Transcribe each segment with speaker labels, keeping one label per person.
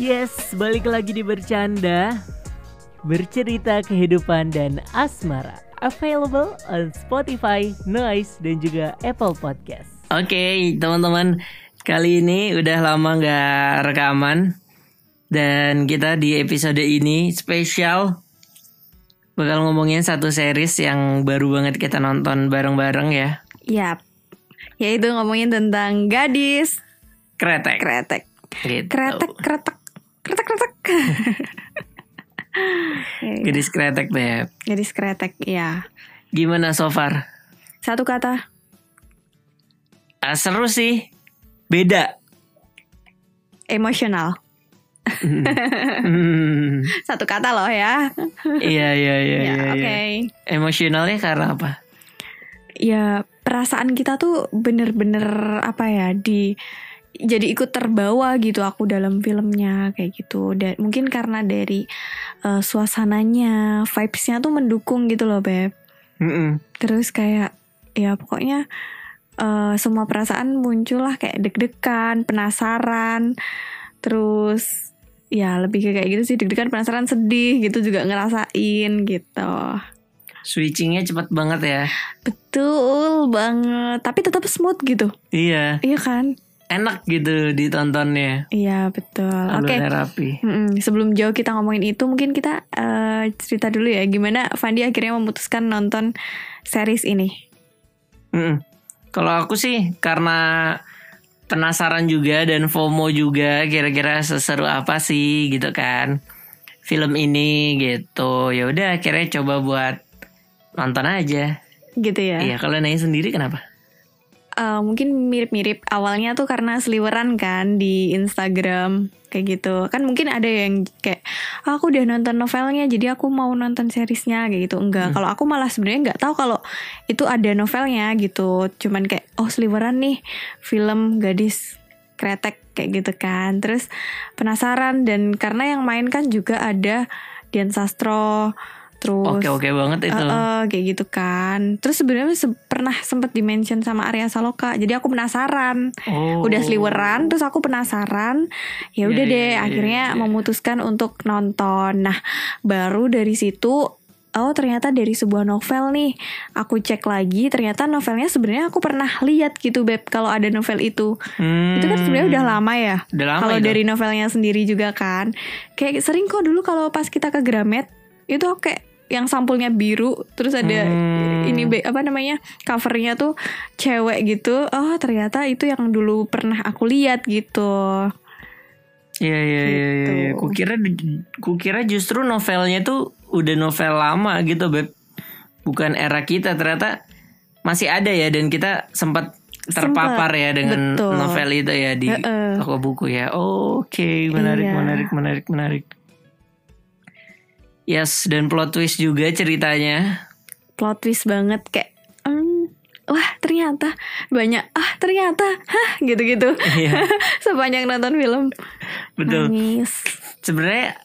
Speaker 1: Yes, balik lagi di Bercanda Bercerita kehidupan dan asmara Available on Spotify, Noise, dan juga Apple Podcast
Speaker 2: Oke teman-teman Kali ini udah lama nggak rekaman Dan kita di episode ini spesial Bakal ngomongin satu series yang baru banget kita nonton bareng-bareng ya
Speaker 3: Yap. Yaitu ngomongin tentang gadis
Speaker 2: Kretek
Speaker 3: kretek.
Speaker 2: gitu.
Speaker 3: Kretek, kretek. Kretek, kretek. Oke.
Speaker 2: Gadis kretek Beb
Speaker 3: Gadis kretek, ya.
Speaker 2: Gimana so far?
Speaker 3: Satu kata.
Speaker 2: Ah, seru sih Beda
Speaker 3: Emosional.
Speaker 2: Hmm,
Speaker 3: Satu kata loh ya.
Speaker 2: Iya iya iya
Speaker 3: ya,
Speaker 2: iya,
Speaker 3: oke.
Speaker 2: iya. Emosionalnya karena apa?
Speaker 3: Ya, perasaan kita tuh bener-bener apa ya di jadi ikut terbawa gitu aku dalam filmnya kayak gitu dan mungkin karena dari eh, suasananya vibesnya tuh mendukung gitu loh beb
Speaker 2: Mm-mm.
Speaker 3: terus kayak ya pokoknya eh, semua perasaan muncullah kayak deg-degan penasaran terus ya lebih ke kayak gitu sih deg-degan penasaran sedih gitu juga ngerasain gitu
Speaker 2: Switchingnya cepat banget ya
Speaker 3: betul banget tapi tetap smooth gitu
Speaker 2: Iya
Speaker 3: iya kan
Speaker 2: Enak gitu ditontonnya
Speaker 3: iya betul oke
Speaker 2: Alurnya rapi
Speaker 3: Mm-mm. sebelum jauh kita ngomongin itu mungkin kita eh, cerita dulu ya gimana Fandi akhirnya memutuskan nonton series ini
Speaker 2: Mm-mm. Kalau aku sih karena penasaran juga dan FOMO juga kira-kira seseru apa sih gitu kan film ini gitu. Ya udah akhirnya coba buat nonton aja.
Speaker 3: gitu ya
Speaker 2: Iya, kalau naik sendiri kenapa?
Speaker 3: Eh, mungkin mirip-mirip awalnya tuh karena seliweran kan di Instagram kayak gitu kan mungkin ada yang kayak "Ah, aku udah nonton novelnya jadi aku mau nonton seriesnya kayak gitu
Speaker 2: Hmm.
Speaker 3: enggak kalau aku malah sebenarnya nggak tahu kalau itu ada novelnya gitu cuman kayak oh seliweran nih film gadis kretek kayak gitu kan terus penasaran dan karena yang main kan juga ada Dian Sastro terus
Speaker 2: Oke oke banget itu.
Speaker 3: Heeh, kayak gitu kan. Terus sebenarnya se- pernah sempet dimention sama Arya Saloka. Jadi aku penasaran.
Speaker 2: Oh.
Speaker 3: Udah seliweran, terus aku penasaran. Ya udah
Speaker 2: Iya,
Speaker 3: deh,
Speaker 2: iya, iya,
Speaker 3: akhirnya
Speaker 2: iya.
Speaker 3: memutuskan untuk nonton. Nah, baru dari situ Oh ternyata dari sebuah novel nih Aku cek lagi ternyata novelnya sebenarnya aku pernah lihat gitu Beb Kalau ada novel itu
Speaker 2: Hmm.
Speaker 3: Itu kan sebenarnya udah lama ya
Speaker 2: Udah lama
Speaker 3: kalau
Speaker 2: itu.
Speaker 3: dari novelnya sendiri juga kan kayak sering kok dulu kalau pas kita ke Gramet itu aku kayak yang sampulnya biru terus ada
Speaker 2: Hmm.
Speaker 3: ini be- apa namanya covernya tuh cewek gitu oh ternyata itu yang dulu pernah aku lihat gitu
Speaker 2: Iya iya iya. iya, iya.
Speaker 3: Gitu.
Speaker 2: Kukira kukira justru novelnya tuh udah novel lama gitu beb. Bukan era kita ternyata masih ada ya dan kita sempat terpapar ya dengan
Speaker 3: Betul.
Speaker 2: novel itu ya di
Speaker 3: Heeh.
Speaker 2: toko buku ya. Oh, Oke menarik
Speaker 3: Iya.
Speaker 2: menarik menarik menarik. Yes dan plot twist juga ceritanya.
Speaker 3: plot twist banget kayak "Hmm, wah ternyata banyak ah ternyata hah gitu-gitu
Speaker 2: Iya
Speaker 3: sepanjang nonton film
Speaker 2: betul.
Speaker 3: nangis
Speaker 2: Sebenarnya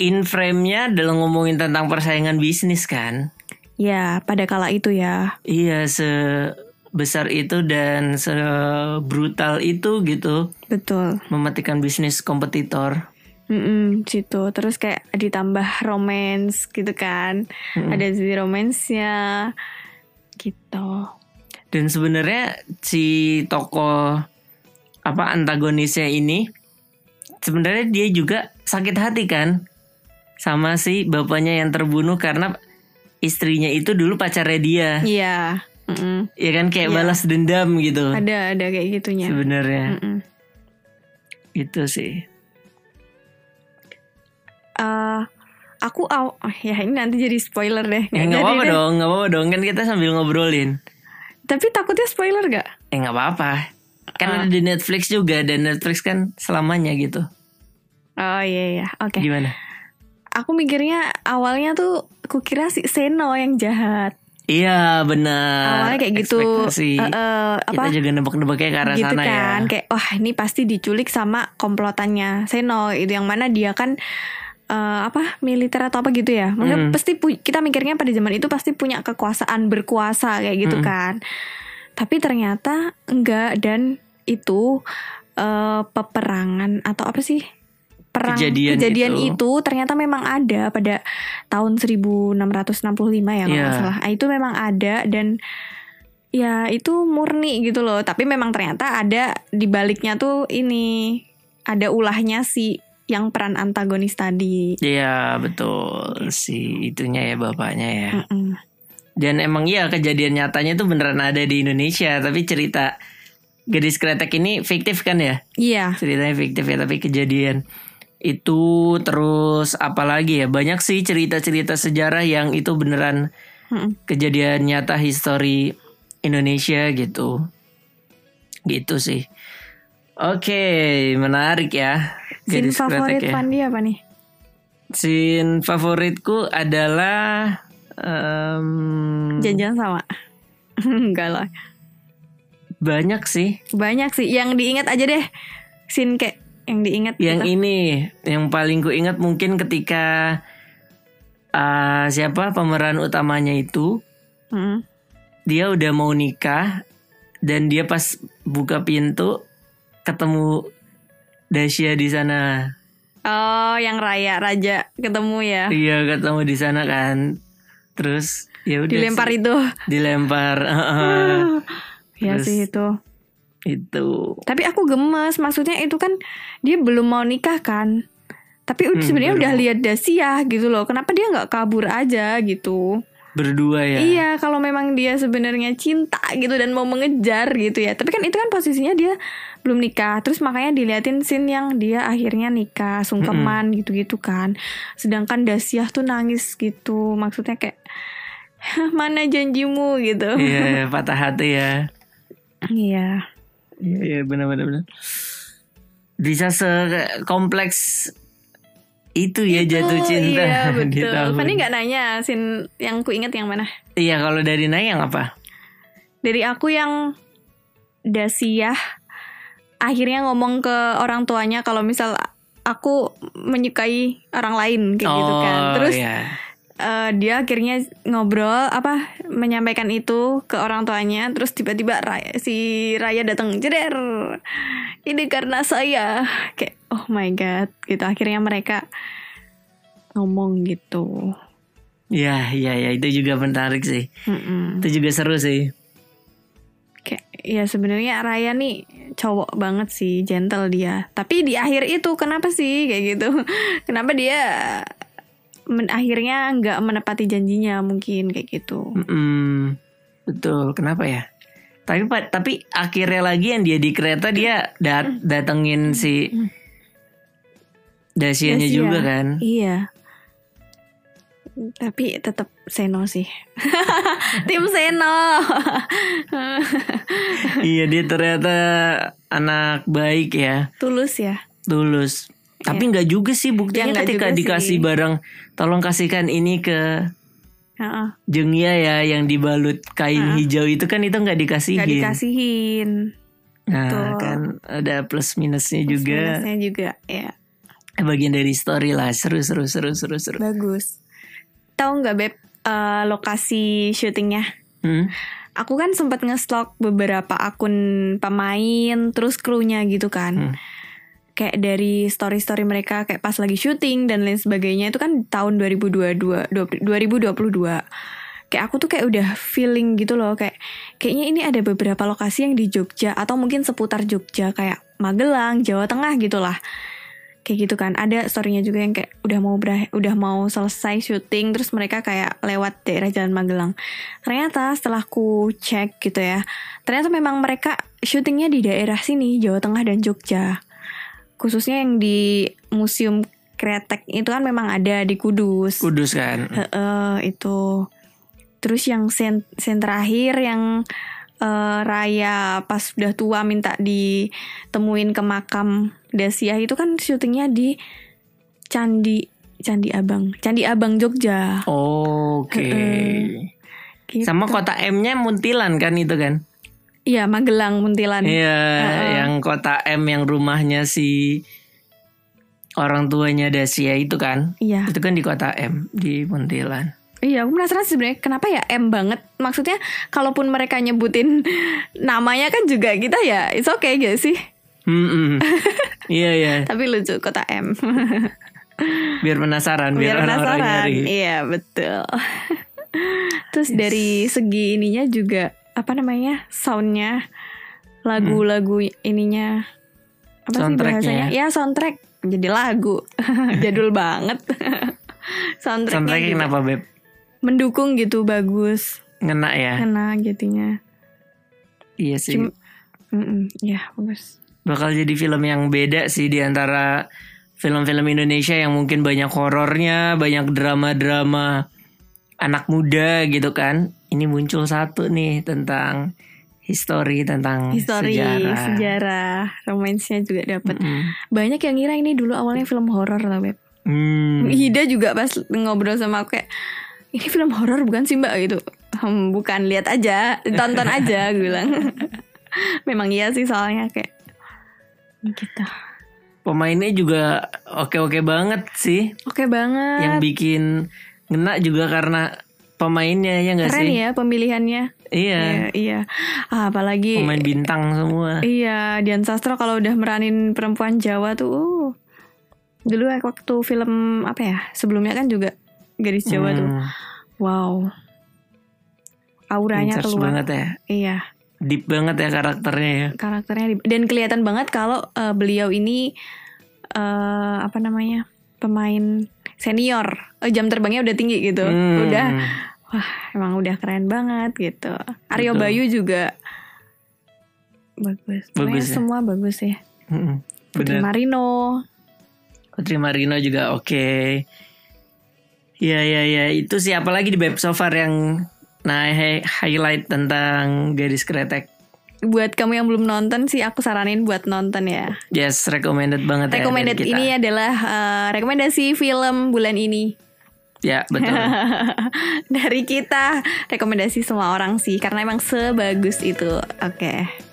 Speaker 2: in frame-nya adalah ngomongin tentang persaingan bisnis kan.
Speaker 3: ya pada kala itu ya
Speaker 2: Iya sebesar itu dan sebrutal itu gitu
Speaker 3: betul
Speaker 2: mematikan bisnis kompetitor.
Speaker 3: Mm-mm, situ terus kayak ditambah romance gitu kan
Speaker 2: Mm-mm.
Speaker 3: ada sisi romansnya gitu
Speaker 2: Dan sebenarnya si tokoh apa antagonisnya ini sebenarnya dia juga sakit hati kan sama si bapaknya yang terbunuh karena istrinya itu dulu pacarnya dia.
Speaker 3: iya mm-mm.
Speaker 2: Ya kan kayak
Speaker 3: Iya.
Speaker 2: balas dendam gitu
Speaker 3: ada ada kayak gitunya
Speaker 2: sebenarnya.
Speaker 3: Mm-mm.
Speaker 2: Itu sih.
Speaker 3: Eh, aku aw oh, ya ini nanti jadi spoiler deh
Speaker 2: Ya nggak
Speaker 3: Nggak Iya, jadi
Speaker 2: apa-apa
Speaker 3: deh.
Speaker 2: dong, nggak apa-apa dong kan kita sambil ngobrolin.
Speaker 3: tapi takutnya spoiler gak
Speaker 2: Eh nggak apa-apa. Kan
Speaker 3: Ah.
Speaker 2: ada di Netflix juga dan Netflix kan selamanya gitu.
Speaker 3: oh iya iya oke
Speaker 2: Gimana?
Speaker 3: aku mikirnya awalnya tuh kukira si Seno yang jahat
Speaker 2: Iya benar.
Speaker 3: awalnya kayak gitu
Speaker 2: Ekspektasi.
Speaker 3: Eh, eh,
Speaker 2: Kita
Speaker 3: apa
Speaker 2: juga nebak-nebaknya ke arah
Speaker 3: gitu
Speaker 2: sana
Speaker 3: kan
Speaker 2: ya.
Speaker 3: kayak wah ini pasti diculik sama komplotannya Seno itu yang mana dia kan eh, apa militer atau apa gitu ya maksudnya
Speaker 2: Mm.
Speaker 3: pasti pu- kita mikirnya pada zaman itu pasti punya kekuasaan berkuasa kayak gitu
Speaker 2: Mm-mm.
Speaker 3: kan tapi ternyata enggak dan itu eh, peperangan atau apa sih perang
Speaker 2: Kejadian gitu.
Speaker 3: kejadian,
Speaker 2: itu.
Speaker 3: itu. ternyata memang ada pada tahun 1665 ya kalau
Speaker 2: Iya.
Speaker 3: nggak salah. Ah, Itu memang ada dan ya itu murni gitu loh. Tapi memang ternyata ada di baliknya tuh ini ada ulahnya si yang peran antagonis tadi.
Speaker 2: Iya betul si itunya ya bapaknya ya.
Speaker 3: Mm-mm.
Speaker 2: Dan emang iya kejadian nyatanya itu beneran ada di Indonesia, tapi cerita Gadis Kretek ini fiktif kan ya?
Speaker 3: Iya.
Speaker 2: Ceritanya fiktif ya, tapi kejadian itu terus apalagi ya banyak sih cerita-cerita sejarah yang itu beneran
Speaker 3: Mm-mm.
Speaker 2: kejadian nyata histori Indonesia gitu. Gitu sih. Oke, menarik ya.
Speaker 3: Scene
Speaker 2: Gadis Kretek
Speaker 3: favorit
Speaker 2: ya.
Speaker 3: Pandi apa nih?
Speaker 2: Scene favoritku adalah em,
Speaker 3: Janjian sama. Enggak lah.
Speaker 2: banyak sih.
Speaker 3: Banyak sih yang diingat aja deh. Scene kayak yang diingat
Speaker 2: Yang
Speaker 3: gitu.
Speaker 2: ini, yang paling ku ingat mungkin ketika eh, siapa pemeran utamanya itu
Speaker 3: Mm-mm.
Speaker 2: dia udah mau nikah dan dia pas buka pintu ketemu Dasya di sana.
Speaker 3: Oh, yang Raya Raja ketemu ya.
Speaker 2: Iya ketemu di sana kan. Terus ya udah
Speaker 3: Dilempar
Speaker 2: sih.
Speaker 3: itu.
Speaker 2: dilempar heeh.
Speaker 3: ya
Speaker 2: Terus-
Speaker 3: sih itu.
Speaker 2: itu.
Speaker 3: Tapi aku gemes, maksudnya itu kan dia belum mau nikah kan. Tapi
Speaker 2: Hmm,
Speaker 3: ud- sebenarnya
Speaker 2: baru
Speaker 3: udah
Speaker 2: mau.
Speaker 3: lihat Dasia gitu loh. Kenapa dia nggak kabur aja gitu?
Speaker 2: Berdua ya.
Speaker 3: Iya, kalau memang dia sebenarnya cinta gitu dan mau mengejar gitu ya. Tapi kan itu kan posisinya dia belum nikah. Terus makanya diliatin scene yang dia akhirnya nikah, sungkeman gitu-gitu kan. Sedangkan Dasyah tuh nangis gitu. Maksudnya kayak mana janjimu gitu.
Speaker 2: Iya, patah hati ya.
Speaker 3: Iya.
Speaker 2: Iya, iya benar-benar. benar. Bisa sekompleks itu ya jatuh
Speaker 3: Itu,
Speaker 2: cinta.
Speaker 3: Iya,
Speaker 2: di
Speaker 3: betul.
Speaker 2: tahun.
Speaker 3: Fanny nggak nanya scene yang ku ingat yang mana?
Speaker 2: Iya, kalau dari Nayang apa?
Speaker 3: Dari aku yang Dasyah akhirnya ngomong ke orang tuanya kalau misal aku menyukai orang lain kayak gitu kan. Terus
Speaker 2: iya.
Speaker 3: eh, dia akhirnya ngobrol apa menyampaikan itu ke orang tuanya terus tiba-tiba Raya- si Raya datang jeder. Ini karena saya kayak oh my god gitu akhirnya mereka ngomong gitu.
Speaker 2: Iya, iya, iya, itu juga menarik sih.
Speaker 3: Mm-mm.
Speaker 2: Itu juga seru sih.
Speaker 3: Kayak ya sebenarnya Raya nih cowok banget sih, gentle dia. Tapi di akhir itu kenapa sih kayak gitu? Kenapa dia men- akhirnya nggak menepati janjinya mungkin kayak gitu?
Speaker 2: Mm-mm. betul. Kenapa ya? Tapi pa- tapi akhirnya lagi yang dia di kereta dia dat-
Speaker 3: Mm.
Speaker 2: datengin si Dasianya
Speaker 3: Dasya.
Speaker 2: juga kan.
Speaker 3: Iya. Tapi tetap Seno sih. Tim Seno.
Speaker 2: iya, dia ternyata anak baik ya.
Speaker 3: Tulus ya.
Speaker 2: tulus tapi nggak juga sih
Speaker 3: Ya,
Speaker 2: buktinya
Speaker 3: nggak
Speaker 2: ketika
Speaker 3: juga
Speaker 2: dikasih
Speaker 3: sih.
Speaker 2: barang tolong kasihkan ini ke
Speaker 3: Heeh,
Speaker 2: Jengya ya yang dibalut kain hijau itu kan itu nggak dikasihin
Speaker 3: nggak dikasihin.
Speaker 2: nah
Speaker 3: Betul.
Speaker 2: kan ada plus minusnya juga
Speaker 3: Minusnya juga ya.
Speaker 2: bagian dari story lah seru seru seru seru seru
Speaker 3: Bagus. Tahu nggak beb eh, lokasi syutingnya?
Speaker 2: Hmm?
Speaker 3: aku kan sempat ngestok beberapa akun pemain terus krunya gitu kan
Speaker 2: Hmm.
Speaker 3: kayak dari story story mereka kayak pas lagi syuting dan lain sebagainya itu kan tahun 2022 20- 2022 kayak aku tuh kayak udah feeling gitu loh kayak kayaknya ini ada beberapa lokasi yang di Jogja atau mungkin seputar Jogja kayak Magelang Jawa Tengah gitulah kayak gitu kan ada storynya juga yang kayak udah mau berah- udah mau selesai syuting terus mereka kayak lewat daerah Jalan Magelang ternyata setelah ku cek gitu ya ternyata memang mereka syutingnya di daerah sini Jawa Tengah dan Jogja khususnya yang di museum kretek itu kan memang ada di Kudus
Speaker 2: kudus kan
Speaker 3: Heeh, itu terus yang sen, sen terakhir yang eh, Raya pas udah tua minta ditemuin ke makam Dasia itu kan syutingnya di Candi Candi Abang Candi Abang Jogja
Speaker 2: oke
Speaker 3: gitu.
Speaker 2: sama kota M-nya Muntilan kan itu kan
Speaker 3: Iya Magelang Muntilan
Speaker 2: Iya,
Speaker 3: Heeh.
Speaker 2: yang kota M yang rumahnya si orang tuanya Dasia itu kan.
Speaker 3: iya
Speaker 2: Itu kan di kota M di Muntilan.
Speaker 3: Iya, aku penasaran sih sebenarnya kenapa ya M banget. Maksudnya kalaupun mereka nyebutin namanya kan juga kita ya it's okay gitu sih.
Speaker 2: Hmm. Iya iya.
Speaker 3: Tapi lucu kota M.
Speaker 2: Biar penasaran. Biar,
Speaker 3: Biar
Speaker 2: orang-orang
Speaker 3: penasaran.
Speaker 2: nyari.
Speaker 3: Iya, betul. Terus dari segi ininya juga apa namanya? Soundnya lagu-lagu ininya apa sih
Speaker 2: Soundtracknya
Speaker 3: bahasanya? Ya, soundtrack jadi lagu. Jadul banget. Soundtracknya
Speaker 2: Soundtracknya
Speaker 3: juga
Speaker 2: kenapa beb?
Speaker 3: mendukung gitu bagus.
Speaker 2: Ngena ya.
Speaker 3: Kena jadinya.
Speaker 2: Iya sih.
Speaker 3: Cuma- Mm-mm, ya, bagus.
Speaker 2: bakal jadi film yang beda sih di antara film-film Indonesia yang mungkin banyak horornya, banyak drama-drama anak muda gitu kan. Ini muncul satu nih tentang history tentang
Speaker 3: History,
Speaker 2: Oh, sejarah.
Speaker 3: sejarah, romansnya juga dapat.
Speaker 2: Mm-mm.
Speaker 3: Banyak yang ngira ini dulu awalnya film horor lah, Beb.
Speaker 2: Hmm.
Speaker 3: Hida juga pas ngobrol sama aku kayak ini film horor bukan sih mbak gitu "Hmm, bukan lihat aja tonton aja gue bilang memang iya sih soalnya kayak gitu
Speaker 2: Pemainnya juga oke-oke banget sih.
Speaker 3: oke banget
Speaker 2: Yang bikin ngena juga karena pemainnya ya enggak
Speaker 3: keren
Speaker 2: sih?
Speaker 3: ya pemilihannya
Speaker 2: Iya.
Speaker 3: iya iya Ah, apalagi
Speaker 2: Pemain bintang semua.
Speaker 3: iya Dian Sastro kalau udah meranin perempuan Jawa tuh uh. dulu waktu film apa ya sebelumnya kan juga gadis Jawa tuh
Speaker 2: Hmm,
Speaker 3: wow auranya
Speaker 2: pincers
Speaker 3: keluar
Speaker 2: banget ya.
Speaker 3: iya
Speaker 2: Deep banget ya karakternya ya.
Speaker 3: karakternya di- dan kelihatan banget kalau eh, beliau ini eh apa namanya pemain senior Eh, jam terbangnya udah tinggi gitu
Speaker 2: Hmm.
Speaker 3: udah wah emang udah keren banget gitu Aryo
Speaker 2: Betul.
Speaker 3: Bayu juga bagus, Pokoknya
Speaker 2: Bagus ya.
Speaker 3: semua bagus ya
Speaker 2: Mm-mm.
Speaker 3: Putri
Speaker 2: Hmm, Bener.
Speaker 3: Marino
Speaker 2: Putri Marino juga oke. Ya ya ya itu sih apalagi di Beb Sofar yang nah hi- highlight tentang gadis kretek.
Speaker 3: buat kamu yang belum nonton sih aku saranin buat nonton ya
Speaker 2: Yes, recommended banget ya dari
Speaker 3: recommended
Speaker 2: kita.
Speaker 3: ini adalah eh, rekomendasi film bulan ini
Speaker 2: Ya, betul.
Speaker 3: Dari kita rekomendasi semua orang sih karena emang sebagus itu. Oke.